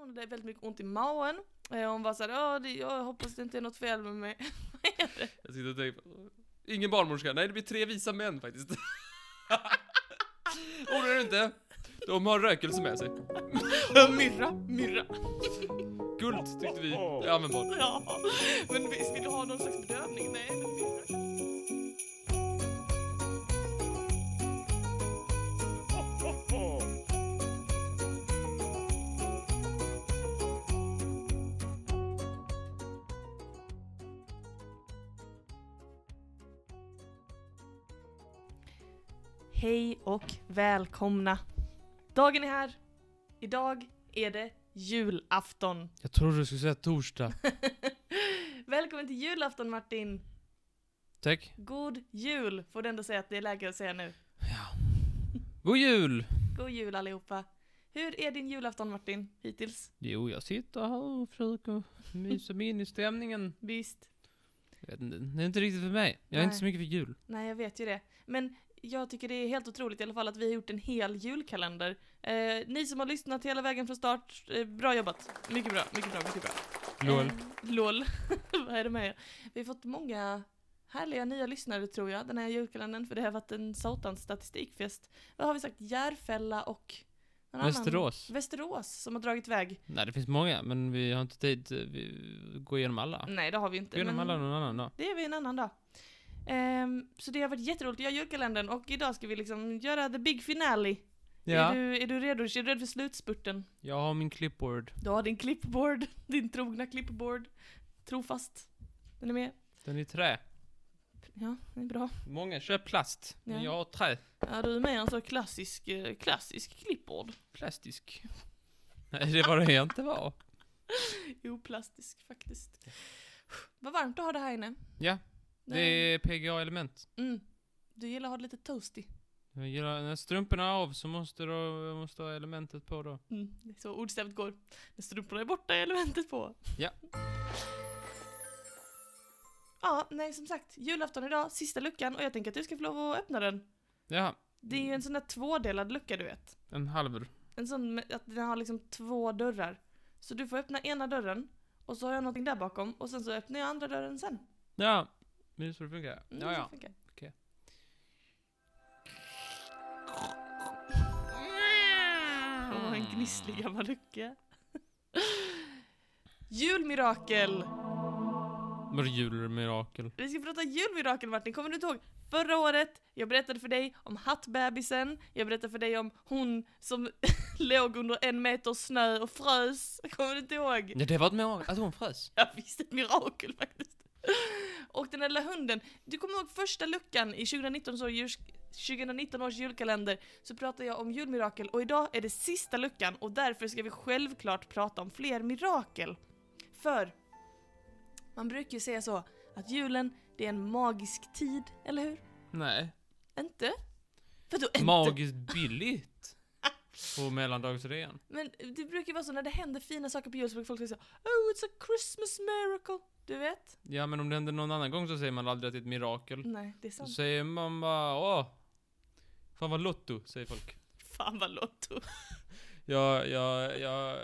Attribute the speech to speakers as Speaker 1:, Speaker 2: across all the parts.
Speaker 1: hade väldigt mycket ont i magen. Eh, Hon var såhär, ja det- jag hoppas det inte är något fel med mig.
Speaker 2: Jag sitter och tänker på... Ingen barnmorska. Nej, det blir tre visa män faktiskt. Oroa dig inte. De har rökelse med sig.
Speaker 1: myrra, myrra.
Speaker 2: Guld tyckte vi är användbart.
Speaker 1: Ja. Men visst, vill du ha någon slags bedövning? Nej, eller myrra. Hej och välkomna. Dagen är här. Idag är det julafton.
Speaker 2: Jag trodde du skulle säga torsdag.
Speaker 1: Välkommen till julafton Martin!
Speaker 2: Tack.
Speaker 1: God jul får du ändå säga att det är läge att säga nu.
Speaker 2: God jul!
Speaker 1: God jul allihopa! Hur är din julafton Martin, hittills?
Speaker 2: Jo, jag sitter här och försöker mysa mig in i stämningen.
Speaker 1: Visst.
Speaker 2: Jag vet inte, Det är inte riktigt för mig. Jag är inte
Speaker 1: Nej.
Speaker 2: så mycket för jul.
Speaker 1: Nej, jag vet ju det. Men jag tycker det är helt otroligt i alla fall att vi har gjort en hel julkalender. Eh, ni som har lyssnat hela vägen från start, eh, bra jobbat! Mycket bra, mycket bra, mycket bra.
Speaker 2: Lol.
Speaker 1: Eh, LOL. Vad är det med er? Vi har fått många härliga nya lyssnare tror jag, den här julkalendern, för det har varit en satans statistikfest. Vad har vi sagt? Järfälla och... någon annan.
Speaker 2: Västerås.
Speaker 1: Västerås som har dragit iväg.
Speaker 2: Nej, det finns många, men vi har inte tid eh, vi går igenom alla.
Speaker 1: Nej, det har vi inte.
Speaker 2: Gå igenom
Speaker 1: Mm, men
Speaker 2: alla någon annan dag.
Speaker 1: Det är vi en annan dag. Ehm, så det har varit jätteroligt att göra julkalendern och idag ska vi liksom göra the big finale. Är,
Speaker 2: Ja,
Speaker 1: du, är du redo? Är du redo för slutspurten?
Speaker 2: jag har min clipboard.
Speaker 1: Du har din clipboard, din trogna clipboard. Trofast. Den är med.
Speaker 2: Den är i trä.
Speaker 1: Ja, det är bra.
Speaker 2: Många kör plast, men
Speaker 1: Ja.
Speaker 2: jag har trä.
Speaker 1: Ja, du är med en så klassisk, eh, klassisk clipboard.
Speaker 2: Plastisk. Nej, det var det jag inte var.
Speaker 1: Jo, plastisk faktiskt. Vad varmt du har det här inne.
Speaker 2: Ja, det är PGA-element.
Speaker 1: Mm. Du gillar att ha det lite toasty.
Speaker 2: Jag gillar, när strumporna är av så måste, då, jag måste ha elementet på då.
Speaker 1: Mm. Det är så ordstävet går. När strumporna är borta är elementet på.
Speaker 2: Ja.
Speaker 1: Ja, nej som sagt. Julafton idag, sista luckan och jag tänker att du ska få lov att öppna den.
Speaker 2: Ja,
Speaker 1: Det
Speaker 2: Mm.
Speaker 1: är ju en sån där tvådelad lucka du vet.
Speaker 2: en halv.
Speaker 1: En sån med, att den har liksom två dörrar. Så du får öppna ena dörren och så har jag någonting där bakom och sen så öppnar jag andra dörren sen.
Speaker 2: Ja, men det är så det funkar.
Speaker 1: Mm,
Speaker 2: Ja,
Speaker 1: så
Speaker 2: ja.
Speaker 1: funkar det.
Speaker 2: Okej.
Speaker 1: Åh,
Speaker 2: Ah.
Speaker 1: en gnisslig gammal lucka. Julmirakel!
Speaker 2: Mm. Var det julmirakel?
Speaker 1: Vi ska prata julmirakel Martin, kommer du inte ihåg? Förra året, jag berättade för dig om hattbebisen, jag berättade för dig om hon som låg under en meter snö och frös. Kommer du inte ihåg?
Speaker 2: Ja, det var ett mirakel. Att hon frös.
Speaker 1: Ja visst, ett mirakel faktiskt. Och den där lilla hunden, du kommer ihåg första luckan i 2019 års, jul, 2019 års julkalender så pratade jag om julmirakel och idag är det sista luckan och därför ska vi självklart prata om fler mirakel. För man brukar ju säga så att julen, det är en magisk tid, eller hur?
Speaker 2: Nej.
Speaker 1: Inte? Vadå inte?
Speaker 2: Magiskt billigt. På mellandagsrean.
Speaker 1: Men det brukar ju vara så när det händer fina saker på jul så brukar folk säga så Oh it's a Christmas miracle, du vet?
Speaker 2: Ja, men om det händer någon annan gång så säger man aldrig att det är ett mirakel.
Speaker 1: Nej, det är
Speaker 2: Då
Speaker 1: Mm, sant.
Speaker 2: säger man bara åh. Fan vad lotto, säger folk.
Speaker 1: Fan vad lotto.
Speaker 2: Jag, jag, jag,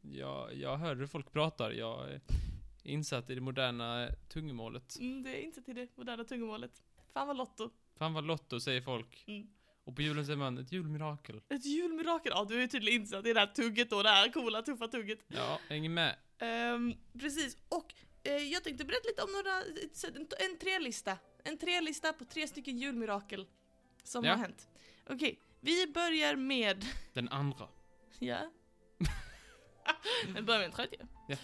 Speaker 2: jag, jag hör hur folk pratar. Jag är insatt i det moderna tungomålet.
Speaker 1: Mm, det är inte till det moderna tungomålet. Fan vad lotto.
Speaker 2: Fan vad lotto, säger folk.
Speaker 1: Mm.
Speaker 2: Och på julen säger man ett julmirakel.
Speaker 1: Ett julmirakel. Ja, du är tydligen insatt i det här tugget då, det här coola tuffa tugget.
Speaker 2: Ja, häng med.
Speaker 1: Ehm, precis, och eh, jag tänkte berätta lite om några, ett sätt- en, en trelista. En trelista på tre stycken julmirakel som
Speaker 2: Ja.
Speaker 1: har hänt. Okej, vi börjar med
Speaker 2: Den andra.
Speaker 1: Ja. Vi börjar med en tredje.
Speaker 2: Ja.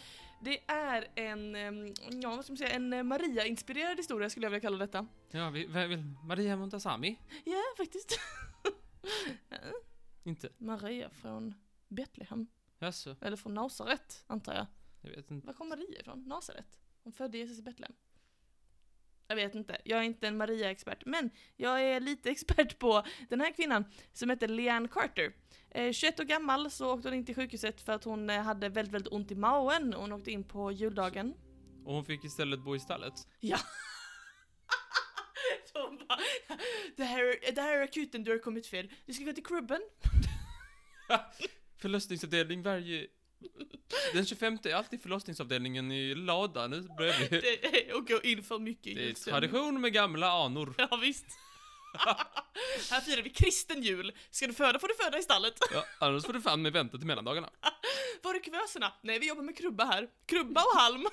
Speaker 1: Det är en, ehm, ja vad ska man säga, en eh, Maria-inspirerad historia skulle jag vilja kalla detta.
Speaker 2: Ja, vi, vem vill? Maria Montazami?
Speaker 1: Ja, faktiskt.
Speaker 2: Inte.
Speaker 1: Maria från Betlehem.
Speaker 2: Jaså?
Speaker 1: Eller från Nasaret, antar jag.
Speaker 2: Jag vet inte.
Speaker 1: Var kom Maria ifrån? Nasaret? Hon födde Jesus i Betlehem. Jag vet inte, jag är inte en Maria-expert, men jag är lite expert på den här kvinnan som heter Leanne Carter. Eh, 21 år gammal så åkte hon in till sjukhuset för att hon eh, hade väldigt, väldigt ont i magen och hon åkte in på juldagen.
Speaker 2: Och hon fick istället bo i stallet.
Speaker 1: Så hon bara, det här, är- det här är akuten, du har kommit fel. Du ska gå till krubben.
Speaker 2: Förlossningsavdelning varje Den 25 är alltid förlossningsavdelningen i ladan nu bredvid.
Speaker 1: Det är att gå in för mycket
Speaker 2: Det är
Speaker 1: julstämning.
Speaker 2: tradition med gamla anor.
Speaker 1: Ja visst. Här firar vi kristen jul. Ska du föda får du föda i stallet.
Speaker 2: Ja, annars får du fan med vänta till mellandagarna.
Speaker 1: Var är kuvöserna? Nej, vi jobbar med krubba här. Krubba och halm.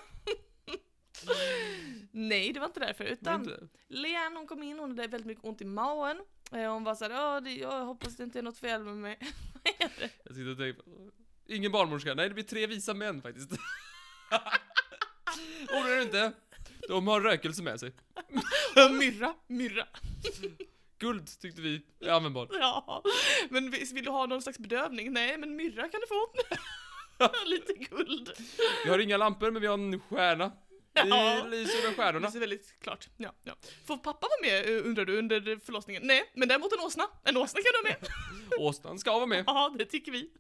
Speaker 1: Nej, det var inte därför, utan
Speaker 2: Men inte-
Speaker 1: Leanne hon kom in, hon hade väldigt mycket ont i magen. Eh, Hon var såhär, "Ja, det- jag hoppas det inte är något fel med mig.
Speaker 2: Jag sitter och tänker på... Ingen barnmorska. Nej, det blir tre visa män faktiskt. Oroa dig inte. De har rökelse med sig.
Speaker 1: Och myrra, myrra.
Speaker 2: Guld tyckte vi är användbar.
Speaker 1: Ja, men visst, vill du ha någon slags bedövning? Nej, men myrra kan du få. Lite guld.
Speaker 2: Vi har inga lampor, men vi har en stjärna.
Speaker 1: Ja.
Speaker 2: Vi lyser med
Speaker 1: Det
Speaker 2: stjärnorna.
Speaker 1: är väldigt klart. Ja, ja. Får pappa vara med eh, undrar du under förlossningen? Nej, men däremot en åsna. En åsna kan du ha med.
Speaker 2: Åsnan ska vara med.
Speaker 1: Ja, det tycker vi.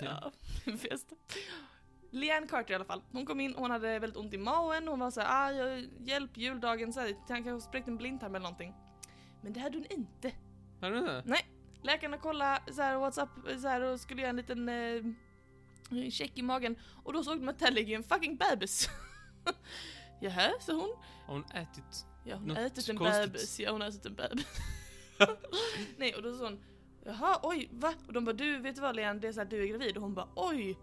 Speaker 1: ja, fest. Leanne Carter i alla fall. Hon kom in, hon hade väldigt ont i magen, hon var så här, "Aj, aj, hjälp juldagen, så här, han kanske spräckte en blindtarm eller någonting. Men det hade hon inte.
Speaker 2: Har du det?
Speaker 1: Läkarna kollade så här, whatsapp så här, och skulle göra en liten eh, check i magen och då såg de att där ligger en fucking bebis. Jaha, sa hon.
Speaker 2: Har hon ätit?
Speaker 1: Ja, hon
Speaker 2: Något
Speaker 1: har ätit en
Speaker 2: konstigt.
Speaker 1: bebis. Ja, hon har ätit en bebis. Nej, och då sa hon Jaha, oj, va? Och de bara du, vet du vad Leanne, det är så här, du är gravid. Och hon bara oj,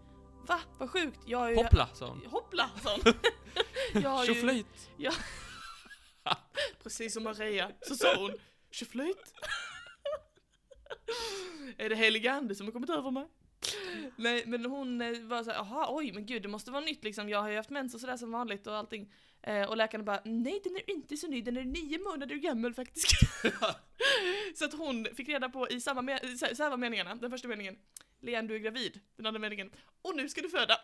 Speaker 1: va? Vad sjukt. Jag är ju...
Speaker 2: Hoppla, sa hon.
Speaker 1: Hoppla, sa hon. Jag har ju...
Speaker 2: Tjoflöjt.
Speaker 1: Precis som Maria, så sa hon Tjoflöjt. är det heliga ande som har kommit över mig? Nej, men hon eh, var så här, jaha, oj, men gud, det måste vara nytt liksom. Jag har ju haft mens och sådär som vanligt och allting. Eh, och läkaren bara, nej den är inte så ny, den är nio månader gammal faktiskt. Så att hon fick reda på i samma, me- i så så här var meningarna, den första meningen Leanne du är gravid, den andra meningen Och nu ska du föda!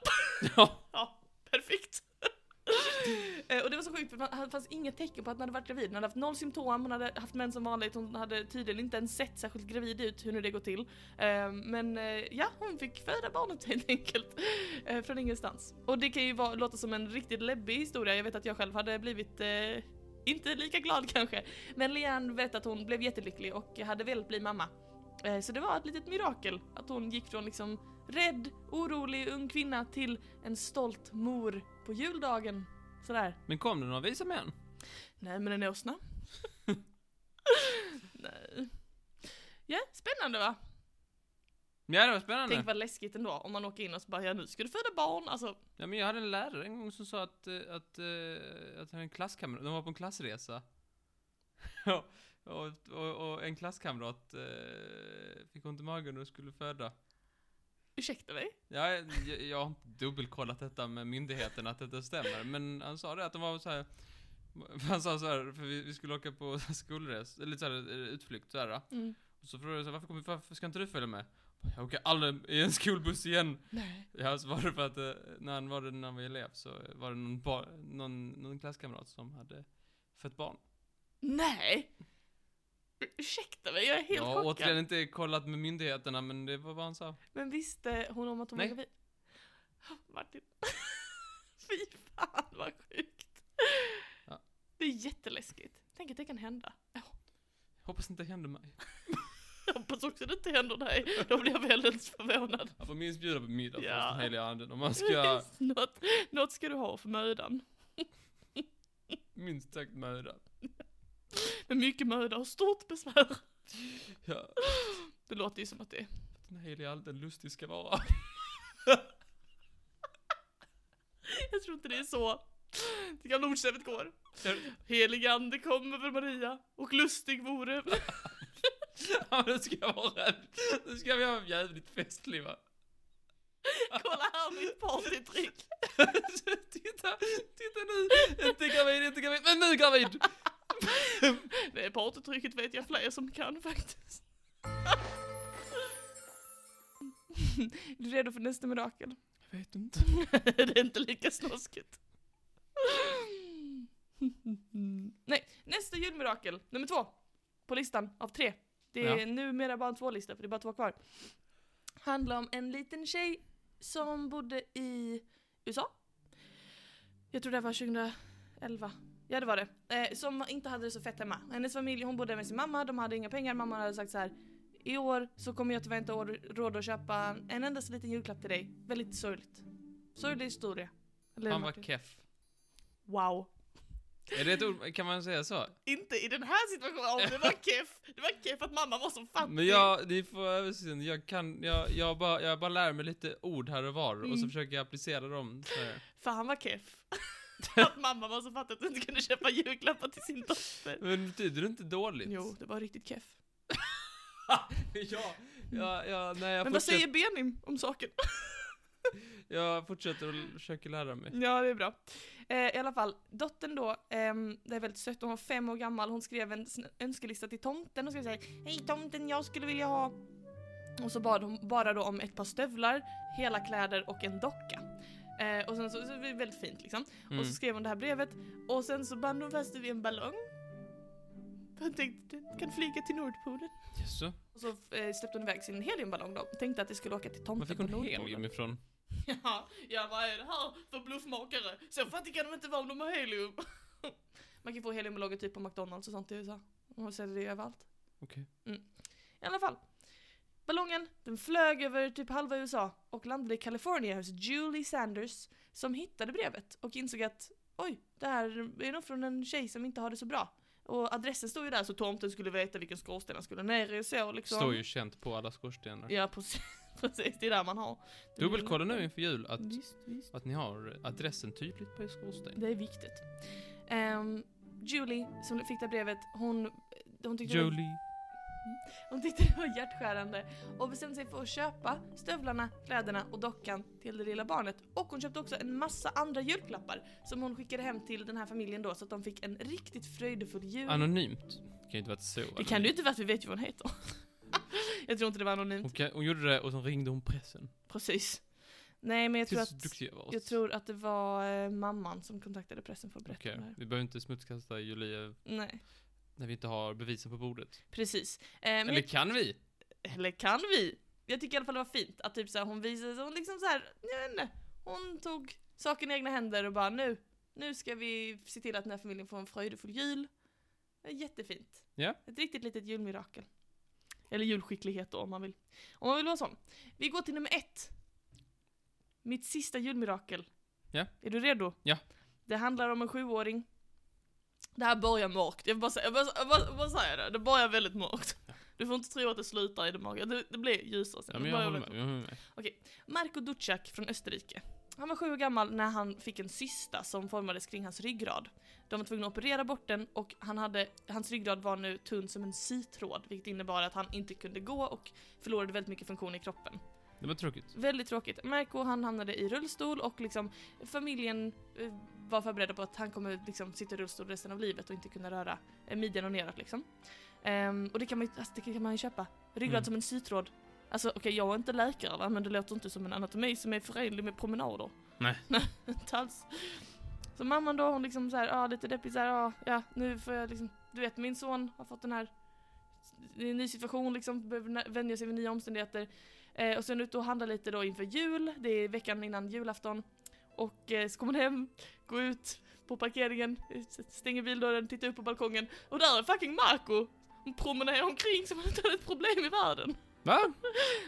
Speaker 2: Ja.
Speaker 1: Ja, perfekt! Eh, och det var så sjukt för man- det fanns inga tecken på att hon hade varit gravid, hon hade haft noll symptom, hon hade haft mens som vanligt, hon hade tydligen inte ens sett särskilt gravid ut, hur nu det går till. Eh, men eh, ja, hon fick föda barnet helt enkelt. Eh, från ingenstans. Och det kan ju vara, låta som en riktigt läbbig historia, jag vet att jag själv hade blivit eh, inte lika glad kanske. Men Leanne vet att hon blev jättelycklig och hade velat bli mamma. Eh, Så det var ett litet mirakel att hon gick från liksom rädd, orolig ung kvinna till en stolt mor på juldagen. Sådär.
Speaker 2: Men kom det några visa män?
Speaker 1: Nej men en åsna. Nej. Ja, spännande va?
Speaker 2: Ja, det var spännande.
Speaker 1: Tänk vad läskigt ändå om man åker in och så bara ja nu ska du föda barn, alltså.
Speaker 2: Ja, men jag hade en lärare en gång som sa att, eh, att, eh, att han hade en klasskamrat, de var på en klassresa. Ja, och, och, och en klasskamrat eh, fick ont i magen och skulle föda.
Speaker 1: Ursäkta mig?
Speaker 2: Ja, jag, jag har inte dubbelkollat detta med myndigheten att detta stämmer, men han sa det att de var så här. Han sa så här, för vi, vi skulle åka på skolres, eller så här, eh, utflykt så här. då.
Speaker 1: Mm.
Speaker 2: Och så frågade jag så här, varför, kommer- varför ska inte du följa med? Jag åker aldrig i en skolbuss igen.
Speaker 1: Nej.
Speaker 2: Ja, så var det för att eh, när han var, när han var elev så var det någon, bar, någon, någon klasskamrat som hade fött barn.
Speaker 1: Nej! Ur- Ursäkta mig, jag är helt
Speaker 2: jag har
Speaker 1: chockad.
Speaker 2: återigen inte kollat med myndigheterna men det var vad han sa.
Speaker 1: Men visste hon om att hon
Speaker 2: Nej.
Speaker 1: var gravid? Martin. Fy fan vad sjukt.
Speaker 2: Ja.
Speaker 1: Det är jätteläskigt. Tänk att det kan hända. Ja,
Speaker 2: Hoppas det inte hände mig.
Speaker 1: Jag hoppas också det inte händer dig. Då blir jag väldigt förvånad.
Speaker 2: Jag får minst bjuda på middag
Speaker 1: Ja.
Speaker 2: förresten, heliga anden. Om man ska
Speaker 1: Något, något ska du ha för mödan.
Speaker 2: minst sagt möda.
Speaker 1: Men mycket möda och stort besvär.
Speaker 2: Ja,
Speaker 1: Det låter ju som att det är.
Speaker 2: den heliga anden lustig ska vara.
Speaker 1: Jag tror inte det är så. Det gamla ordstävet går. Helig ande kom över Maria och lustig vore.
Speaker 2: Ja, men det ska vara, det ska vi ha en jävligt festlig va?
Speaker 1: Kolla här mitt partytrick.
Speaker 2: titta, titta nu! Inte gravid, inte gravid, men nu gravid!
Speaker 1: Det är partytrycket vet jag fler som kan faktiskt. Är du redo för nästa mirakel?
Speaker 2: Jag vet inte.
Speaker 1: det är inte lika snuskigt. Nej, nästa julmirakel, nummer två. På listan av tre. Det är
Speaker 2: Ja.
Speaker 1: numera bara en två-lista för det är bara två kvar. Handlar om en liten tjej som bodde i USA. Jag tror det var 2011. Ja det var det. Eh, som inte hade det så fett hemma. Hennes familj, hon bodde med sin mamma, de hade inga pengar. Mamma hade sagt så här. I år så kommer jag tyvärr inte ha råd att köpa en endast liten julklapp till dig. Väldigt sorgligt. Sorglig historia. Eller
Speaker 2: Han
Speaker 1: något.
Speaker 2: var keff.
Speaker 1: Wow.
Speaker 2: Är det ett ord, kan man säga så?
Speaker 1: Inte i den här situationen, Åh, det var keff. Det var keff att mamma var så fattig.
Speaker 2: Men jag, ni får överseende, jag kan, jag, jag bara, jag bara lär mig lite ord här och var och så
Speaker 1: Mm.
Speaker 2: försöker jag applicera dem. Så här.
Speaker 1: För han var keff. att mamma var så fattig att hon inte kunde köpa julklappar till sin dotter.
Speaker 2: Men betyder det inte dåligt?
Speaker 1: Jo, det var riktigt keff.
Speaker 2: ja, ja, ja, nej jag
Speaker 1: Men vad
Speaker 2: fortsätter,
Speaker 1: säger Benim om saken?
Speaker 2: jag fortsätter och försöker lära mig.
Speaker 1: Ja, det är bra. Eh, I alla fall, dottern då, ehm, det är väldigt sött, hon var fem år gammal, hon skrev en sn- önskelista till tomten och skrev säga Hej tomten, jag skulle vilja ha... Och så bad hon bara då om ett par stövlar, hela kläder och en docka. Eh, och sen så, så det är väldigt fint liksom.
Speaker 2: Mm.
Speaker 1: Och så skrev hon det här brevet och sen så band hon fast det vid en ballong. För Hon tänkte, den kan flyga till Nordpolen.
Speaker 2: Jaså,
Speaker 1: Och så eh, släppte hon iväg sin heliumballong då, tänkte att det skulle åka till
Speaker 2: var
Speaker 1: tomten
Speaker 2: fick
Speaker 1: på
Speaker 2: hon
Speaker 1: Nordpolen.
Speaker 2: helium ifrån?
Speaker 1: Ja, ja, vad är det här för bluffmakare? Så fattig kan de inte vara om de har helium. Man kan få helium och logotyp på McDonalds och sånt i USA. De säljer det överallt.
Speaker 2: Okej.
Speaker 1: Mm. I alla fall. Ballongen, den flög över typ halva USA och landade i Kalifornien hos Julie Sanders som hittade brevet och insåg att oj, det här är nog från en tjej som inte har det så bra. Och adressen stod ju där så tomten skulle veta vilken skorsten han skulle ner i och så liksom.
Speaker 2: Står ju känt på alla skorstenar.
Speaker 1: Ja, precis. precis. Det är där man har.
Speaker 2: Dubbelkolla nu inför jul att,
Speaker 1: Visst, visst.
Speaker 2: att ni har adressen tydligt på er skorsten.
Speaker 1: Det är viktigt. Ehm, Julie, som fick det här brevet, hon, hon, tyckte det var,
Speaker 2: Julie.
Speaker 1: hon tyckte det var hjärtskärande och bestämde sig för att köpa stövlarna, kläderna och dockan till det lilla barnet. Och hon köpte också en massa andra julklappar som hon skickade hem till den här familjen då så att de fick en riktigt fröjdefull jul.
Speaker 2: Anonymt. Det kan ju inte varit så.
Speaker 1: det kan
Speaker 2: anonymt.
Speaker 1: du inte för att vi vet ju vad hon heter. jag tror inte det var anonymt.
Speaker 2: Hon, kan, hon gjorde det och så ringde hon pressen.
Speaker 1: Precis. Nej men jag
Speaker 2: Titta
Speaker 1: tror
Speaker 2: så
Speaker 1: att,
Speaker 2: duktig jag var.
Speaker 1: jag tror att det var eh, mamman som kontaktade pressen för att berätta
Speaker 2: Okej,
Speaker 1: om det här.
Speaker 2: vi behöver inte smutskasta Julia
Speaker 1: Nej,
Speaker 2: när vi inte har bevisen på bordet.
Speaker 1: precis. Eh, men
Speaker 2: Eller kan vi?
Speaker 1: Eller kan vi? Jag tycker i alla fall det var fint att typ så här, hon visade sig, hon liksom så här, jag vet inte, hon tog saken i egna händer och bara nu, nu ska vi se till att den här familjen får en fröjdefull jul. Det är jättefint.
Speaker 2: Ja.
Speaker 1: Ett riktigt litet julmirakel. Eller julskicklighet då om man vill. Om man vill vara sån. Vi går till nummer ett. Mitt sista julmirakel.
Speaker 2: Ja.
Speaker 1: Är du redo?
Speaker 2: Ja.
Speaker 1: Det handlar om en sjuåring. Det här börjar mörkt, jag vill bara säga, jag bara, jag bara, jag bara säger det, det börjar väldigt mörkt. Du får inte tro att det slutar i det magra, det, det blir ljusare sen.
Speaker 2: Ja,
Speaker 1: Det
Speaker 2: men jag
Speaker 1: börjar
Speaker 2: håller
Speaker 1: väldigt
Speaker 2: med. Jag håller med.
Speaker 1: Marko Ducak från Österrike. Han var sju år gammal när han fick en cysta som formades kring hans ryggrad. De var tvungna att operera bort den och han hade, hans ryggrad var nu tunn som en sytråd vilket innebar att han inte kunde gå och förlorade väldigt mycket funktion i kroppen.
Speaker 2: Det var tråkigt.
Speaker 1: Väldigt tråkigt. Marco han hamnade i rullstol och liksom familjen eh, var förberedda på att han kommer liksom sitta i rullstol resten av livet och inte kunna röra eh, midjan och neråt liksom. Ehm, och det kan man ju alltså, det kan man ju köpa. Ryggrad
Speaker 2: Mm.
Speaker 1: som en sytråd. Alltså okej jag är inte läkare va, men det låter inte som en anatomi som är förenlig med promenader.
Speaker 2: Nej.
Speaker 1: Nej, inte alls. Så mamman då hon liksom såhär, ja lite deppig såhär, ja, ja nu får jag liksom, du vet min son har fått den här, det är en ny situation liksom, behöver nä- vänja sig vid nya omständigheter. Eh, och sen ut och handla lite då inför jul, det är veckan innan julafton. Och eh, så kommer hon hem, går ut på parkeringen, stänger bildörren, tittar upp på balkongen och där är fucking Marco! Hon promenerar omkring som om han inte hade ett problem i världen.
Speaker 2: Va?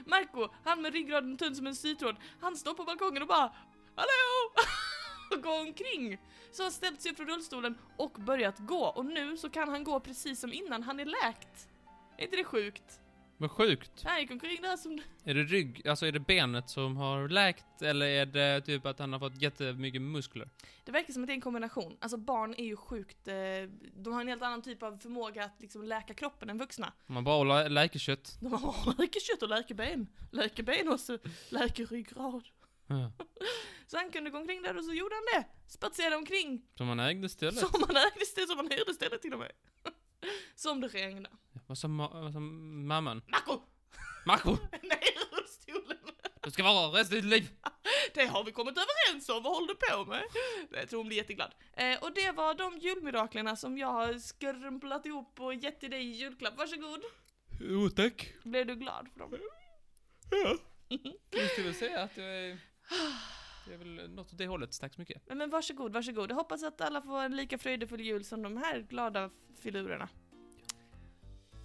Speaker 1: Marco, han med ryggraden tunn som en sytråd, han står på balkongen och bara Hallå! och går omkring. Så har han ställt sig upp från rullstolen och börjat gå och nu så kan han gå precis som innan, han är läkt. Är inte det sjukt?
Speaker 2: Vad sjukt.
Speaker 1: Han gick omkring där som
Speaker 2: Är det rygg, alltså är det benet som har läkt eller är det typ att han har fått jättemycket muskler?
Speaker 1: Det verkar som att det är en kombination. Alltså barn är ju sjukt, eh, de har en helt annan typ av förmåga att liksom läka kroppen än vuxna.
Speaker 2: Om man bara håller läkekött.
Speaker 1: De har läker kött och läker ben. Läker ben och så läker ryggrad.
Speaker 2: Ja.
Speaker 1: Så han kunde gå omkring där och så gjorde han det. Spatserade omkring.
Speaker 2: Som man ägde stället.
Speaker 1: Som han ägde stället, som han hyrde stället till och med. Som det regnade.
Speaker 2: Vad sa, ma- vad sa mamman?
Speaker 1: Marco!
Speaker 2: Marco!
Speaker 1: Ner i rullstolen!
Speaker 2: Du ska vara resten av ditt liv!
Speaker 1: Det har vi kommit överens om, vad håller du på med? Jag tror hon blir jätteglad. Eh, och det var de julmiraklerna som jag har skrumplat ihop och gett till dig i julklapp. Varsågod!
Speaker 2: Jo, tack.
Speaker 1: Blev du glad för dem?
Speaker 2: Ja. Jag skulle väl säga att jag är... Det är väl något åt det hållet, tack så mycket.
Speaker 1: Men, men varsågod, varsågod. Jag hoppas att alla får en lika fröjdefull jul som de här glada filurerna.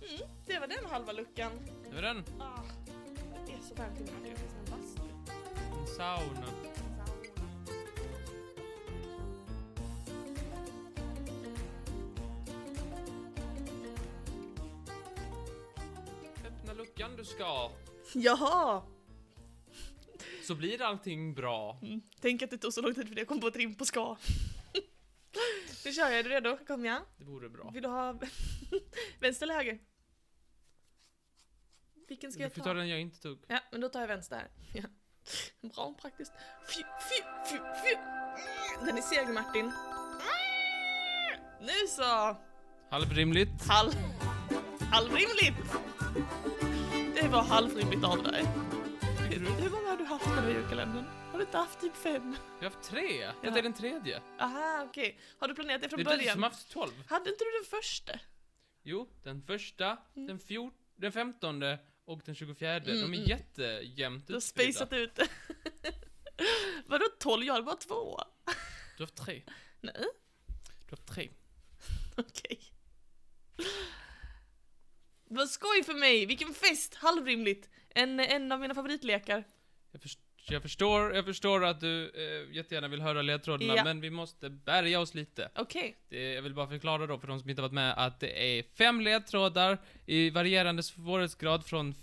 Speaker 1: Mm, det var den halva luckan.
Speaker 2: Det var den.
Speaker 1: Ah, det är så varmt inne att jag finns en bastu.
Speaker 2: En sauna.
Speaker 1: Sauna.
Speaker 2: Öppna luckan du ska.
Speaker 1: Jaha!
Speaker 2: Så blir allting bra.
Speaker 1: Mm. Tänk att det tog så lång tid för det jag kom på ett rim på ska. nu kör jag, är du redo? Kom jag?
Speaker 2: Det vore bra.
Speaker 1: Vill du ha vänster eller höger? Vilken ska
Speaker 2: Du
Speaker 1: jag
Speaker 2: får
Speaker 1: ta?
Speaker 2: ta den jag inte tog.
Speaker 1: Ja, men då tar jag vänster här. Ja. Bra och praktiskt. Fy, fy, fy, fy. Den är seg Martin. Nu så!
Speaker 2: Halvrimligt.
Speaker 1: Halv... Halvrimligt! Det var halvrimligt av dig.
Speaker 2: Tycker du?
Speaker 1: Hur många har du haft med den här julkalendern? Har du inte haft typ fem?
Speaker 2: Vi har haft tre. Detta är den tredje.
Speaker 1: Aha, okej. Har du planerat det från
Speaker 2: Det är du
Speaker 1: början?
Speaker 2: som har haft tolv.
Speaker 1: Hade inte du den första?
Speaker 2: Jo, den första, den fjort, den femtonde och den tjugofjärde.
Speaker 1: Mm,
Speaker 2: De är
Speaker 1: mm.
Speaker 2: jättejämnt
Speaker 1: Du har
Speaker 2: utspridda.
Speaker 1: spacat ut det. Vadå 12? Jag hade bara två.
Speaker 2: Du har haft tre.
Speaker 1: Nej.
Speaker 2: Du har haft tre.
Speaker 1: Okej. Det var skoj för mig, vilken fest! Halvrimligt! En, en av mina favoritlekar.
Speaker 2: Jag, först, jag, förstår, jag förstår att du eh, jättegärna vill höra ledtrådarna,
Speaker 1: Ja.
Speaker 2: men vi måste bärga oss lite.
Speaker 1: Okej.
Speaker 2: Det, jag vill bara förklara då för de som inte har varit med att det är fem ledtrådar i varierande svårighetsgrad från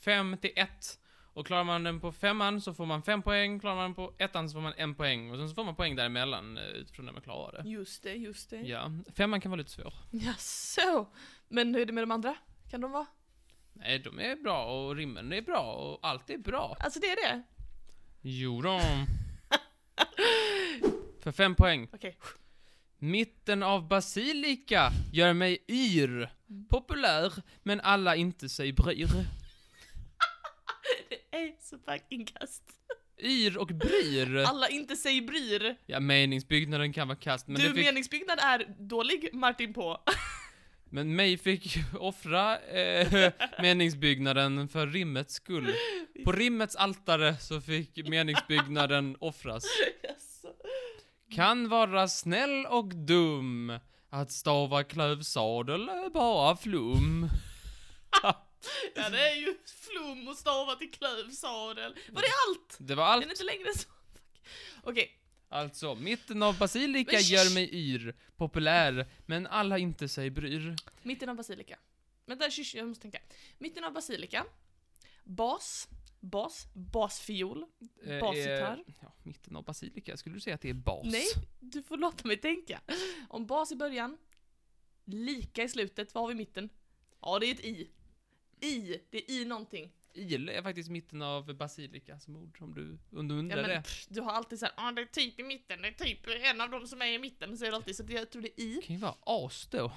Speaker 2: fem till ett. Och klarar man den på femman så får man fem poäng, klarar man den på ettan så får man en poäng och sen så får man poäng däremellan eh, utifrån när man klarar det.
Speaker 1: Just det, just det.
Speaker 2: Ja, femman kan vara lite svår.
Speaker 1: Jaså? Men hur är det med de andra? Kan de vara?
Speaker 2: Nej, de är bra och rimmen är bra och allt är bra.
Speaker 1: Alltså det är det?
Speaker 2: Jo då. För fem poäng.
Speaker 1: Okej.
Speaker 2: Mitten av basilika gör mig yr. Populär, men alla inte sig bryr.
Speaker 1: Det är så fucking kast.
Speaker 2: Yr och bryr.
Speaker 1: Alla inte sig bryr.
Speaker 2: Ja, meningsbyggnaden kan vara kast, men,
Speaker 1: du,
Speaker 2: det fick,
Speaker 1: meningsbyggnad är dålig, Martin på.
Speaker 2: men mig fick offra eh, meningsbyggnaden för rimmets skull. På rimmets altare så fick meningsbyggnaden offras.
Speaker 1: Jaså?
Speaker 2: Kan vara snäll och dum. Att stava klövsadel är bara flum.
Speaker 1: Ja, det är ju flum och stavar till klövsadel. Var det allt?
Speaker 2: Det var
Speaker 1: Den
Speaker 2: allt.
Speaker 1: är inte längre än så. Fuck. Okej.
Speaker 2: Alltså, mitten av basilika
Speaker 1: Men
Speaker 2: gör
Speaker 1: sh-
Speaker 2: mig yr. Populär, men alla inte sig bryr.
Speaker 1: Mitten av basilika. Vänta, shush, jag måste tänka. Mitten av basilika. Bas. Bas. Basfiol.
Speaker 2: Eh,
Speaker 1: Basgitarr.
Speaker 2: eh, ja, mitten av basilika, skulle du säga att det är bas?
Speaker 1: Nej, du får låta mig tänka. Om bas i början. Lika i slutet. Vad har vi i mitten? Ja, det är ett i. I. Det är i någonting.
Speaker 2: Il är faktiskt mitten av basilika som ord, om du, om du
Speaker 1: Ja,
Speaker 2: undrar
Speaker 1: men,
Speaker 2: det.
Speaker 1: pff, du har alltid såhär, ah, det är typ i mitten, det är typ en av dem som är i mitten, säger du alltid. Så det, jag tror det är i.
Speaker 2: Det kan ju vara as då.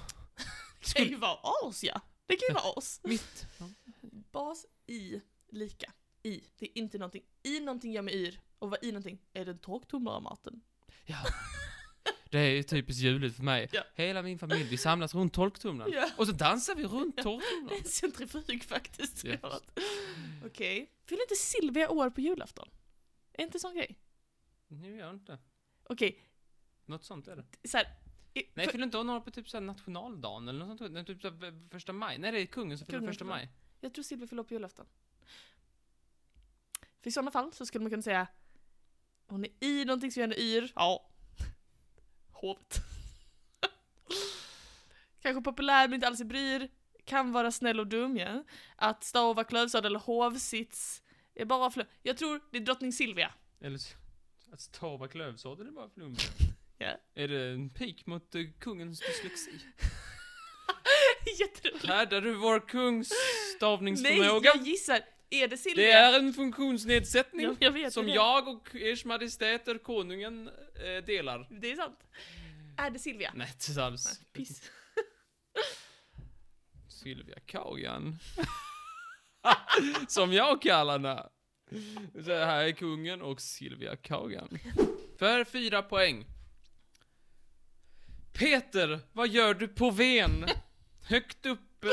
Speaker 1: Det kan ju vara as ja. Det kan ju vara as.
Speaker 2: Mitt. Ja.
Speaker 1: Bas i lika. I. Det är inte någonting. I någonting gör mig yr. Och vad i någonting? Är den torktumlare maten?
Speaker 2: Ja. Det är typiskt juligt för mig.
Speaker 1: Ja.
Speaker 2: Hela min familj, vi samlas runt torktumlaren.
Speaker 1: Ja.
Speaker 2: Och så dansar vi runt
Speaker 1: Det är
Speaker 2: torktumlaren.
Speaker 1: en centrifug faktiskt. tror jag.
Speaker 2: Ja.
Speaker 1: Okej. Fyller inte Silvia år på julafton? Är inte sån grej?
Speaker 2: Nu gör jag inte.
Speaker 1: Okej,
Speaker 2: Något sånt är det.
Speaker 1: så här. i-
Speaker 2: Nej,
Speaker 1: för-
Speaker 2: fyller inte hon år på typ såhär nationaldagen eller något sånt? Nej, Typ såhär första maj? Nej, det är kungen som fyller
Speaker 1: Kungen
Speaker 2: första
Speaker 1: fyller.
Speaker 2: maj.
Speaker 1: Jag tror Silvia fyller år på julafton. För i sådana fall så skulle man kunna säga Hon är i någonting som gör henne yr. Ja. Hovet. Kanske populär men inte alls i bryr. Kan vara snäll och dum ja. Att stava klövsadel eller hovsits. Är bara flö- Jag tror det är drottning Silvia.
Speaker 2: Eller så- att stava klövsadel är bara flum.
Speaker 1: Ja.
Speaker 2: Är det en pik mot eh, kungens dyslexi?
Speaker 1: Jätteroligt.
Speaker 2: Härdar du vår kungs
Speaker 1: Nej,
Speaker 2: stavningsförmåga?
Speaker 1: jag gissar. Är det Silvia?
Speaker 2: det är en funktionsnedsättning
Speaker 1: Ja, jag vet
Speaker 2: som
Speaker 1: det.
Speaker 2: jag och ers majestäter konungen eh, delar.
Speaker 1: Det är sant. Är det Silvia?
Speaker 2: Nej, inte alls.
Speaker 1: Nej, Piss.
Speaker 2: Sylvia Kaugan. Som jag kallar henne. Så här är kungen och Sylvia Kaugan. För fyra poäng. Peter, vad gör du på Ven? Högt uppe...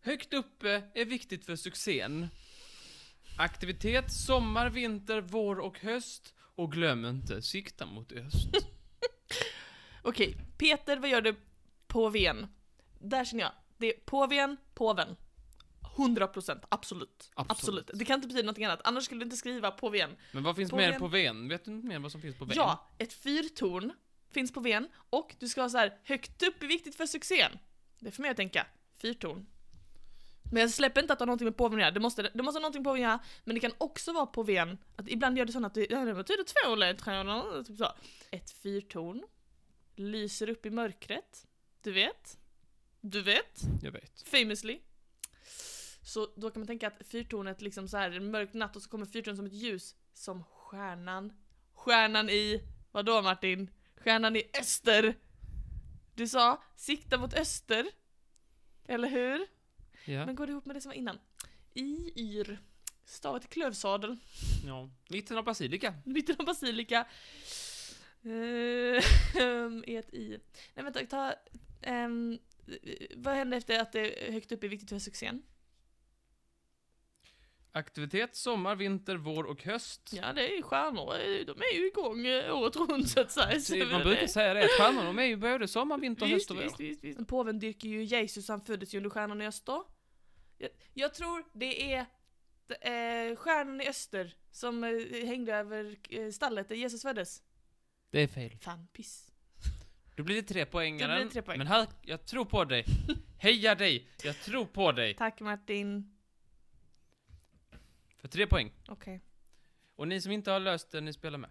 Speaker 2: Högt uppe är viktigt för succén. Aktivitet sommar, vinter, vår och höst. Och glöm inte, sikta mot öst.
Speaker 1: Okej, Peter, vad gör du på Ven? Där känner jag, Det är påven, påven. 100 procent, absolut.
Speaker 2: Absolut.
Speaker 1: Absolut. Det kan inte betyda något annat, annars skulle du inte skriva påven.
Speaker 2: Men vad finns
Speaker 1: På
Speaker 2: mer
Speaker 1: ven.
Speaker 2: på ven? Vet du inte mer vad som finns på ven?
Speaker 1: Ja, ett fyrtorn finns på ven och du ska ha så här högt upp är viktigt för succén. Det får mig att tänka, fyrtorn. Men jag släpper inte att det har någonting med påven att göra, det måste, det måste ha någonting på påven att göra, men det kan också vara på ven, att ibland gör det sånt att det, ja, det betyder två eller tre, typ så. Ett fyrtorn, lyser upp i mörkret, du vet, du vet.
Speaker 2: Jag vet.
Speaker 1: Famously. Så då kan man tänka att fyrtornet liksom så här en mörk natt och så kommer fyrtornet som ett ljus. Som stjärnan. Stjärnan i, vadå Martin? Stjärnan i öster. Du sa sikta mot öster. Eller hur?
Speaker 2: Ja.
Speaker 1: Men går det ihop med det som var innan? I yr. Stavet klövsadel.
Speaker 2: ja. Mitten av basilika.
Speaker 1: Mitten av basilika. Eh, är ett i. Nej vänta, ta... ehm, vad händer efter att det är högt upp är viktigt för succén?
Speaker 2: Aktivitet, sommar, vinter, vår och höst.
Speaker 1: Ja, det är ju stjärnor. eh, De är ju igång eh, året runt så att säga. Så
Speaker 2: Så
Speaker 1: det är
Speaker 2: Man
Speaker 1: väl
Speaker 2: brukar
Speaker 1: det.
Speaker 2: säga det, att stjärnorna de är ju både sommar, vinter,
Speaker 1: Visst,
Speaker 2: höst och vår.
Speaker 1: visst, visst, visst. Påven dyrker ju Jesus, han föddes ju under stjärnan i öster. Jag, jag tror det är eh, stjärnan i öster som eh, hängde över eh, stallet där Jesus föddes.
Speaker 2: Det är fel.
Speaker 1: Fan, piss.
Speaker 2: Då blir det tre
Speaker 1: Då
Speaker 2: poängaren.
Speaker 1: blir det tre poäng.
Speaker 2: Men här, jag tror på dig. Heja dig! Jag tror på dig.
Speaker 1: Tack Martin.
Speaker 2: För tre poäng.
Speaker 1: Okej.
Speaker 2: Och ni som inte har löst det, ni spelar med.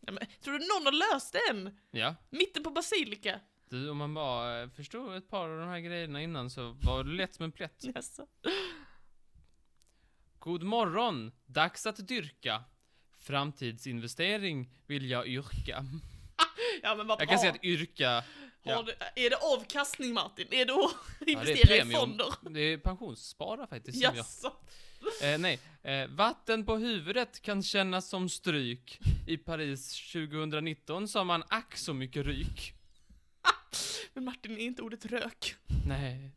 Speaker 1: Ja, men, tror du någon har löst den?
Speaker 2: Ja.
Speaker 1: Mitten på basilika?
Speaker 2: Du, om man bara eh, förstod ett par av de här grejerna innan så var det lätt som en plätt.
Speaker 1: Jaså?
Speaker 2: God morgon! Dags att dyrka. Framtidsinvestering vill jag yrka.
Speaker 1: Ja men vad
Speaker 2: Jag kan
Speaker 1: bra.
Speaker 2: säga att yrka, ja.
Speaker 1: Har du, är det avkastning Martin? Är det att investera i
Speaker 2: premium.
Speaker 1: fonder?
Speaker 2: det är pensionsspara faktiskt. som jag-
Speaker 1: Jaså?
Speaker 2: Eh, nej. Eh, vatten på huvudet kan kännas som stryk. I Paris 2019 sa man ack så mycket ryk.
Speaker 1: Men Martin, är inte ordet rök?
Speaker 2: Nej.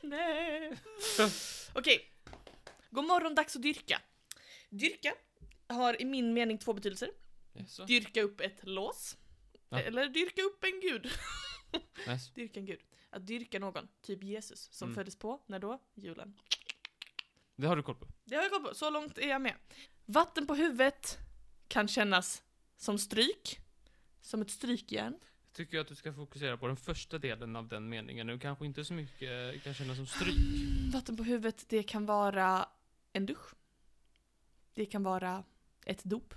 Speaker 1: Nej. Okej. God morgon, dags att dyrka. Dyrka har i min mening två betydelser.
Speaker 2: Jaså?
Speaker 1: Dyrka upp ett lås.
Speaker 2: Ja.
Speaker 1: Eller dyrka upp en gud.
Speaker 2: Jaså?
Speaker 1: Dyrka en gud. Att dyrka någon, typ Jesus, som
Speaker 2: Mm.
Speaker 1: föddes på, när då? Julen.
Speaker 2: Det har du koll på.
Speaker 1: Det har jag koll på, så långt är jag med. Vatten på huvudet kan kännas som stryk. Som ett strykjärn.
Speaker 2: Tycker jag att du ska fokusera på den första delen av den meningen nu. Kanske inte så mycket eh, kan kännas som stryk.
Speaker 1: Vatten på huvudet, det kan vara en dusch. Det kan vara ett dop.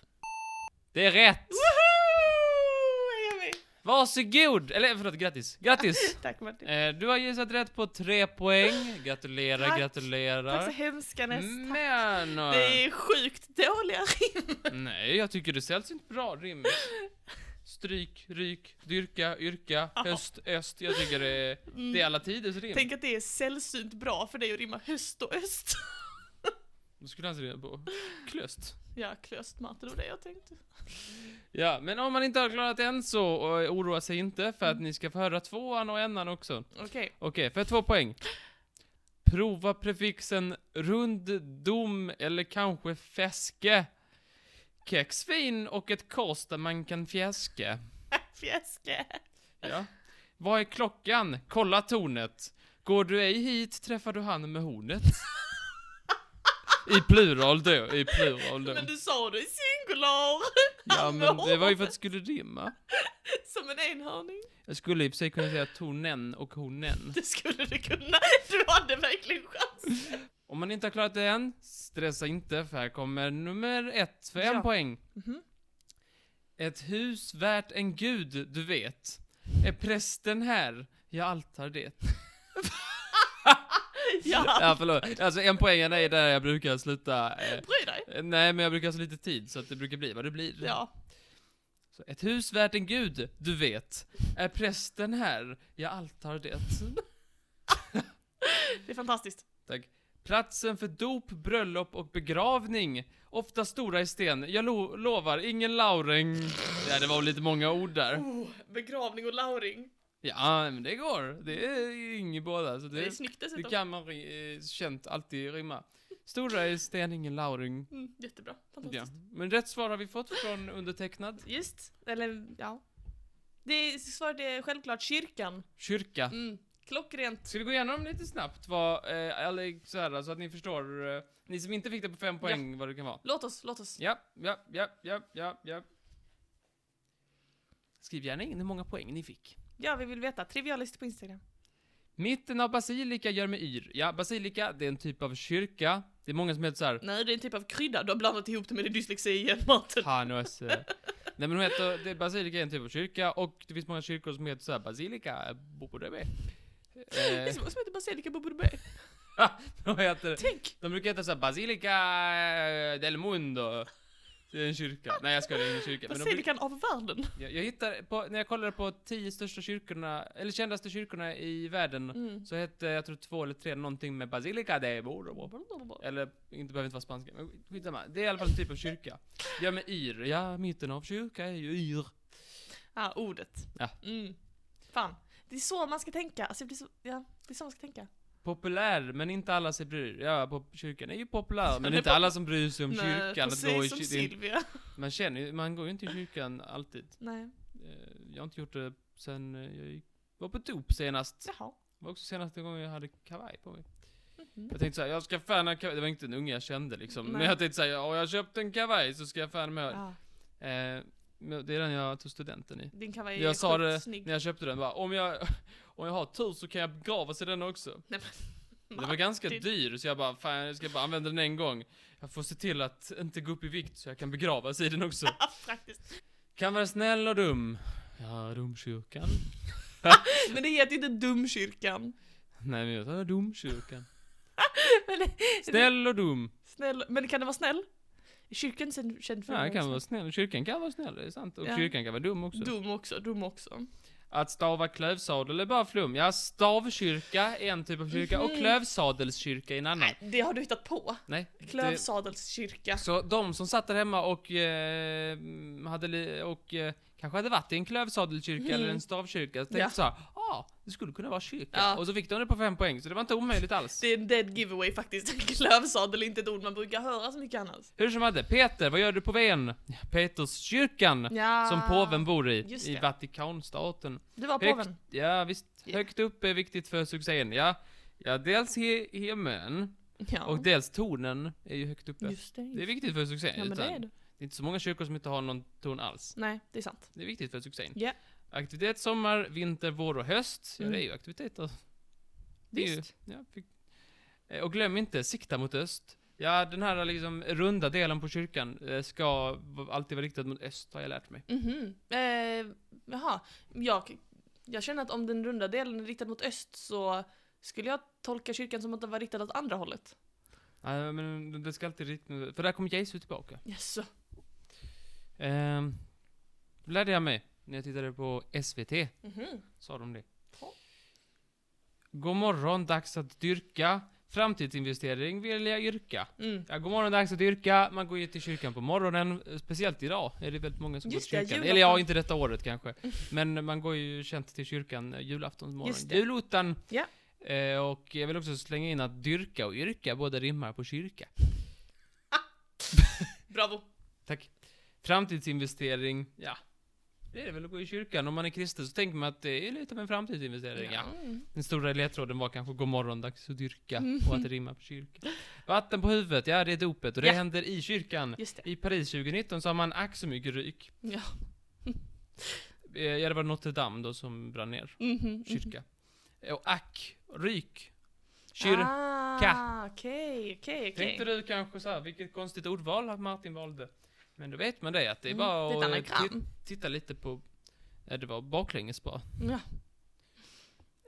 Speaker 2: Det är rätt!
Speaker 1: Woho! Här är vi!
Speaker 2: Varsågod! Eller förlåt, grattis. Grattis!
Speaker 1: Tack Martin.
Speaker 2: Eh, du har gissat rätt på tre poäng. Gratulerar,
Speaker 1: Tack. Tack så
Speaker 2: gratulerar.
Speaker 1: hemskt Ganes. Tack.
Speaker 2: Men... eh,
Speaker 1: Det är sjukt dåliga rim.
Speaker 2: Nej, jag tycker det säljs inte bra rim. Stryk, ryk, dyrka, yrka, höst, öst. Jag tycker det är, det är alla tiders rim.
Speaker 1: Mm. Tänk att det är sällsynt bra för dig att rimma höst och öst.
Speaker 2: Då skulle han skriva på klöst.
Speaker 1: Ja, klöst Matte, det var det jag tänkte.
Speaker 2: Ja, men om man inte har klarat en så eh, oroa sig inte för att ni ska få höra tvåan och enan också.
Speaker 1: Okej.
Speaker 2: Okej, för två poäng. Prova prefixen runddom eller kanske fäske. Kexfin och ett kors där man kan fjäske.
Speaker 1: Fjäske.
Speaker 2: Ja. Vad är klockan? Kolla tornet. Går du ej hit träffar du han med hornet. I plural då, i plural då.
Speaker 1: Men du sa det i singular.
Speaker 2: Ja men det var ju för att det skulle rimma.
Speaker 1: Som en enhörning.
Speaker 2: Jag skulle i och för sig kunna säga tornen och hornen.
Speaker 1: Det skulle du kunna. Du hade verkligen chans.
Speaker 2: Om man inte har klarat det än, stressa inte för här kommer nummer ett för en
Speaker 1: Ja.
Speaker 2: poäng.
Speaker 1: Mhm.
Speaker 2: Ett hus värt en gud, du vet. Är prästen här? Jag altar det.
Speaker 1: Ja.
Speaker 2: Ja, förlåt. Alltså en poäng är där jag brukar sluta. Eh,
Speaker 1: Bry dig.
Speaker 2: Eh, Nej, men jag brukar ha så lite tid så att det brukar bli vad det blir.
Speaker 1: Ja.
Speaker 2: Så, ett hus värt en gud, du vet. Är prästen här? Jag altar det.
Speaker 1: Det är fantastiskt.
Speaker 2: Tack. Platsen för dop, bröllop och begravning. Ofta stora i sten. Jag lo- lovar, ingen lauring. Ja, det var väl lite många ord där.
Speaker 1: Oh, begravning och lauring.
Speaker 2: Ja, men det går. Det är inget båda. Så
Speaker 1: Det är
Speaker 2: det,
Speaker 1: snyggt
Speaker 2: det
Speaker 1: dessutom.
Speaker 2: kan man ri- eh, känt alltid rimma. Stora i sten, ingen lauring.
Speaker 1: Mm, jättebra.
Speaker 2: Ja.
Speaker 1: Fantastiskt.
Speaker 2: Men rätt svar har vi fått från undertecknad.
Speaker 1: Just, eller ja. Det är, svaret är självklart kyrkan.
Speaker 2: Kyrka.
Speaker 1: Mm. Klockrent.
Speaker 2: Ska vi gå igenom lite snabbt vad, eh, eller så här så att ni förstår, eh, ni som inte fick det på fem poäng, vad det kan vara?
Speaker 1: Låt oss, låt oss.
Speaker 2: Ja, ja, ja, ja, ja, ja. Skriv gärna in hur många poäng ni fick.
Speaker 1: Ja, vi vill veta. Trivialist på Instagram.
Speaker 2: Mitten av basilika gör mig yr. Ja, basilika, det är en typ av kyrka. Det är många som heter så här.
Speaker 1: Nej, det är en typ av krydda. Du har blandat ihop det med din dyslexi igen, Martin.
Speaker 2: Fan Össe. eh. Nej men de heter, det, basilika är en typ av kyrka och det finns många kyrkor som heter så här, basilika, Bobodebe.
Speaker 1: Det är
Speaker 2: Eh,
Speaker 1: som som heter basilika bubbe.
Speaker 2: de, heter,
Speaker 1: Tänk!
Speaker 2: de brukar heta så här, basilika del mundo. Det är en kyrka. Nej jag skojar, det är ingen kyrka. Men de, brukar-
Speaker 1: Basilikan av världen.
Speaker 2: jag, jag hittade, på, när jag kollade på tio största kyrkorna, eller kändaste kyrkorna i världen,
Speaker 1: Mm.
Speaker 2: så hette, jag tror två eller tre, någonting med basilika de Bourbon. Eller, inte behöver inte vara spanska, men skitsamma. Det är i alla fall en typ av kyrka. Ja men yr, ja mitten av kyrka är ju yr.
Speaker 1: Ja, ordet.
Speaker 2: Ja.
Speaker 1: Mm. Fan. Det är så man ska tänka. Alltså, det, är så, ja, det är så man ska tänka.
Speaker 2: Populär, men inte alla sig bryr. Ja, pop- kyrkan är ju populär, men
Speaker 1: är
Speaker 2: inte alla som bryr sig om
Speaker 1: Nej,
Speaker 2: kyrkan. att
Speaker 1: precis
Speaker 2: gå i
Speaker 1: som
Speaker 2: kyr- det är inte-
Speaker 1: Silvia.
Speaker 2: man känner ju, man går ju inte i kyrkan alltid.
Speaker 1: Nej,
Speaker 2: Eh, Jag har inte gjort det sen eh, jag gick, var på dop senast. Det
Speaker 1: jaha.
Speaker 2: var också senaste gången jag hade kavaj på mig.
Speaker 1: Mhm.
Speaker 2: Jag tänkte såhär, jag ska fan ha kavaj. Det var inte en unge jag kände liksom. Men
Speaker 1: Nej.
Speaker 2: jag tänkte såhär, ja, jag köpte en kavaj så ska jag fan med.
Speaker 1: Ja,
Speaker 2: Eh, men det är den jag tog studenten i.
Speaker 1: din kavaj är
Speaker 2: Jag sa
Speaker 1: sjukt
Speaker 2: det
Speaker 1: snygg.
Speaker 2: när jag köpte den bara, om jag, om jag har tur så kan jag begravas i den också.
Speaker 1: Nej, men-
Speaker 2: Den var ganska
Speaker 1: Martin.
Speaker 2: dyr så jag bara, fan jag ska bara använda den en gång. Jag får se till att inte gå upp i vikt så jag kan begravas i den också.
Speaker 1: Ja, Faktiskt.
Speaker 2: Kan vara snäll och dum. Ja, domkyrkan.
Speaker 1: Men det heter ju inte Dumkyrkan.
Speaker 2: Nej men jag tar domkyrkan.
Speaker 1: Men det,
Speaker 2: Snäll och dum.
Speaker 1: snäll, men kan det vara snäll? Är Kyrkan sen- känd för
Speaker 2: Ja,
Speaker 1: att
Speaker 2: jag kan vara snäll. Kyrkan kan vara snäll, det är sant. Och
Speaker 1: Ja.
Speaker 2: kyrkan kan vara dum också.
Speaker 1: Dum också, dum också.
Speaker 2: Att stava klövsadel är bara flum. Ja, stavkyrka är en typ av kyrka och
Speaker 1: Mhm.
Speaker 2: klövsadelskyrka är en annan.
Speaker 1: Nej, det har du hittat på.
Speaker 2: Nej. det-
Speaker 1: Klövsadelskyrka.
Speaker 2: Så de som satt där hemma och, eh, mm, hade li- och eh, kanske hade varit i en klövsadelkyrka
Speaker 1: Mm.
Speaker 2: eller en stavkyrka, så tänkte
Speaker 1: Ja.
Speaker 2: så här, ah, det skulle kunna vara kyrka.
Speaker 1: Ja.
Speaker 2: Och så fick de det på fem poäng, så det var inte omöjligt alls.
Speaker 1: Det är en dead giveaway faktiskt. Klövsadel är inte ett ord man brukar höra så mycket annars.
Speaker 2: Hur som hade, Peter, vad gör du på Ven? Peterskyrkan,
Speaker 1: Ja.
Speaker 2: som påven bor i,
Speaker 1: Ah, Just
Speaker 2: i
Speaker 1: det.
Speaker 2: Vatikanstaten.
Speaker 1: Du var
Speaker 2: Högt,
Speaker 1: påven.
Speaker 2: ja, visst,
Speaker 1: Ja.
Speaker 2: högt upp är viktigt för succén, ja. Ja, dels he- himlen,
Speaker 1: Ja.
Speaker 2: och dels tornen är ju högt uppe.
Speaker 1: Just det.
Speaker 2: Det är viktigt för succén.
Speaker 1: Ja, men det
Speaker 2: utan-
Speaker 1: är det.
Speaker 2: det är inte så många kyrkor som inte har någon torn alls.
Speaker 1: Nej, det är sant.
Speaker 2: Det är viktigt för succén.
Speaker 1: Ja.
Speaker 2: Aktivitet sommar, vinter, vår och höst. Ja, det är
Speaker 1: Mm.
Speaker 2: ju aktiviteter. Det är ju,
Speaker 1: Visst.
Speaker 2: ja, fick- Eh, och glöm inte, sikta mot öst. Ja, den här liksom runda delen på kyrkan eh, ska v- alltid vara riktad mot öst, har jag lärt mig.
Speaker 1: Mhm. Eh, jaha. Jag, jag känner att om den runda delen är riktad mot öst så skulle jag tolka kyrkan som att den var riktad åt andra hållet.
Speaker 2: Nej, men det ska alltid riktas för där kommer Jesus tillbaka.
Speaker 1: Jaså?
Speaker 2: Ehm, lärde jag mig när jag tittade på SVT,
Speaker 1: Mhm.
Speaker 2: sa de det.
Speaker 1: Ja.
Speaker 2: God morgon, dags att dyrka. Framtidsinvestering vill jag yrka.
Speaker 1: Mm.
Speaker 2: Ja, god morgon, dags att dyrka. Man går ju till kyrkan på morgonen. eh, Speciellt idag är det väldigt många som
Speaker 1: Just
Speaker 2: går
Speaker 1: det,
Speaker 2: till kyrkan.
Speaker 1: julafton.
Speaker 2: Eller ja, inte detta året kanske. Men man går ju känt till kyrkan eh, julaftonsmorgon.
Speaker 1: Just det.
Speaker 2: Julottan.
Speaker 1: Ja.
Speaker 2: Eh, och jag vill också slänga in att dyrka och yrka båda rimmar på kyrka.
Speaker 1: Bravo.
Speaker 2: Tack. Framtidsinvestering. Ja. Det är det väl att gå i kyrkan. Om man är kristen så tänker man att det är lite av en framtidsinvestering. Ja.
Speaker 1: Mm.
Speaker 2: Den stora ledtråden var kanske god morgon, dags att dyrka. Och att det rimmar på kyrka. Vatten på huvudet, ja det är dopet. Och det
Speaker 1: Ja.
Speaker 2: händer i kyrkan.
Speaker 1: Just det.
Speaker 2: I Paris 2019 så har man ack så mycket ryk.
Speaker 1: Ja.
Speaker 2: Eh, Ja, det var Notre Dame då som brann ner.
Speaker 1: Mhm.
Speaker 2: Kyrka. Eh, Och ack, ryk, kyrka.
Speaker 1: Ah, Okej, okej,
Speaker 2: Tänkte
Speaker 1: okej.
Speaker 2: du kanske så här, vilket konstigt ordval att Martin valde. Men då vet man det, att det är
Speaker 1: Mm,
Speaker 2: bara
Speaker 1: det är ett
Speaker 2: att eh,
Speaker 1: anagram.
Speaker 2: ti- titta lite på... Ja, det var baklänges bara.
Speaker 1: Mm.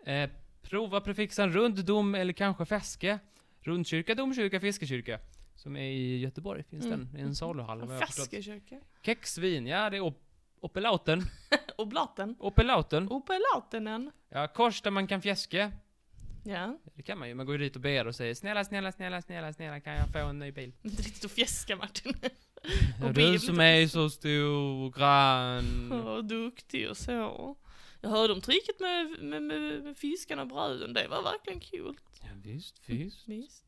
Speaker 1: Ja.
Speaker 2: Eh, prova prefixen rund, dom eller kanske fäske. Rundkyrka, domkyrka, fiskekyrka. Som är i Göteborg, finns
Speaker 1: Mm.
Speaker 2: den. I en saluhall vad jag har förstått.
Speaker 1: Fäskekyrka.
Speaker 2: Kexvin, ja det är op- opelauten.
Speaker 1: Oblaten.
Speaker 2: Opelauten.
Speaker 1: Opelatenen.
Speaker 2: Ja, kors där man kan fjäske.
Speaker 1: Ja.
Speaker 2: Det kan man ju, man går ju dit och ber och säger snälla, snälla, snälla, snälla, snälla, kan jag få en ny bil?
Speaker 1: Inte riktigt att fjäska Martin.
Speaker 2: Och
Speaker 1: Och
Speaker 2: du
Speaker 1: bil
Speaker 2: som
Speaker 1: lite
Speaker 2: är så stor och grann.
Speaker 1: Ja, duktig och så. Jag hörde om tricket med, med, med, med fiskarna och bröden, det var verkligen kul.
Speaker 2: Ja, visst, visst.
Speaker 1: Visst.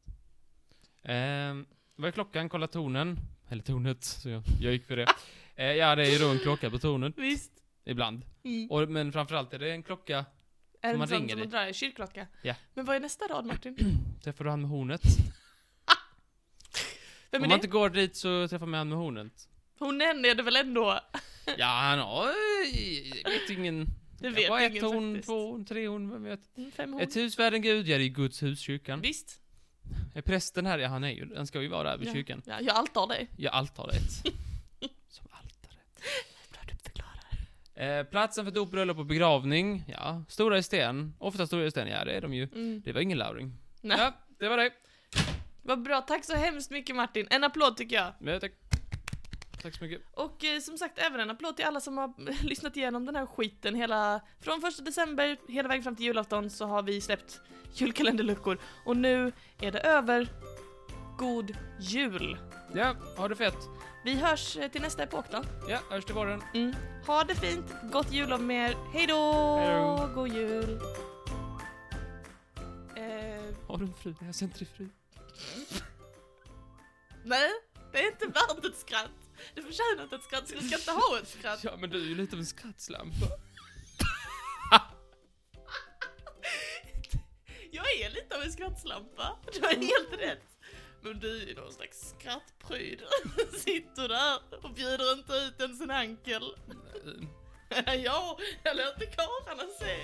Speaker 2: Ehm, vad är klockan? Kolla tornen. Eller tornet, så jag, jag gick för det. Eh, ja, det är ju då en klocka på tornet,
Speaker 1: Visst.
Speaker 2: ibland.
Speaker 1: Mm.
Speaker 2: Och, men framförallt är det en klocka
Speaker 1: Är det
Speaker 2: man
Speaker 1: inte sånt
Speaker 2: ringer
Speaker 1: som
Speaker 2: i.
Speaker 1: man drar i kyrkklocka?
Speaker 2: Ja.
Speaker 1: Men vad är nästa rad Martin?
Speaker 2: Träffar du han med hornet?
Speaker 1: Vem är
Speaker 2: Om man
Speaker 1: det?
Speaker 2: inte går dit så träffar man han med hornet.
Speaker 1: Hon är det väl ändå?
Speaker 2: Ja, han har... Jag vet ingen...
Speaker 1: Det
Speaker 2: Ja,
Speaker 1: vet
Speaker 2: bara ett
Speaker 1: ingen
Speaker 2: horn,
Speaker 1: faktiskt.
Speaker 2: två horn, tre horn, vem vet?
Speaker 1: Mm, Fem horn.
Speaker 2: Ett hus värd en gud, ja det är Guds hus, kyrkan.
Speaker 1: Visst.
Speaker 2: Är prästen här, ja han är ju, han ska ju vara där vid
Speaker 1: Ja.
Speaker 2: kyrkan.
Speaker 1: Ja, jag altar dig.
Speaker 2: Ja, altaret. Som altare.
Speaker 1: Bra du förklarar.
Speaker 2: Eh, platsen för dop, bröllop och begravning, ja. Stora i sten, ofta stora i sten, ja det är de ju.
Speaker 1: Mm.
Speaker 2: Det var ingen lauring.
Speaker 1: Nej.
Speaker 2: Ja, det var det.
Speaker 1: Vad bra, tack så hemskt mycket Martin. En applåd tycker jag.
Speaker 2: Men, tack. tack så mycket.
Speaker 1: Och eh, som sagt, även en applåd till alla som har lyssnat igenom den här skiten hela... Från första december hela vägen fram till julafton så har vi släppt julkalenderluckor. Och nu är det över. God jul!
Speaker 2: Ja, ha det fett.
Speaker 1: Vi hörs eh, till nästa epok då.
Speaker 2: Ja, hörs till våren.
Speaker 1: Mm. Ha det fint, gott jullov med er. Hej då!
Speaker 2: Hej
Speaker 1: God jul! Eh,
Speaker 2: Har du en fru? Jag har inte till fru.
Speaker 1: nej, det är inte värt ett skratt. Du förtjänar inte ett skratt, så du ska inte ha ett skratt.
Speaker 2: Ja, men du är ju lite av en skrattslampa.
Speaker 1: Jag är lite av en skrattslampa, du har helt rätt. Men du är någon slags skrattpryd. Sitter där och bjuder inte ut ens en ankel. ja, jag låter karlarna se.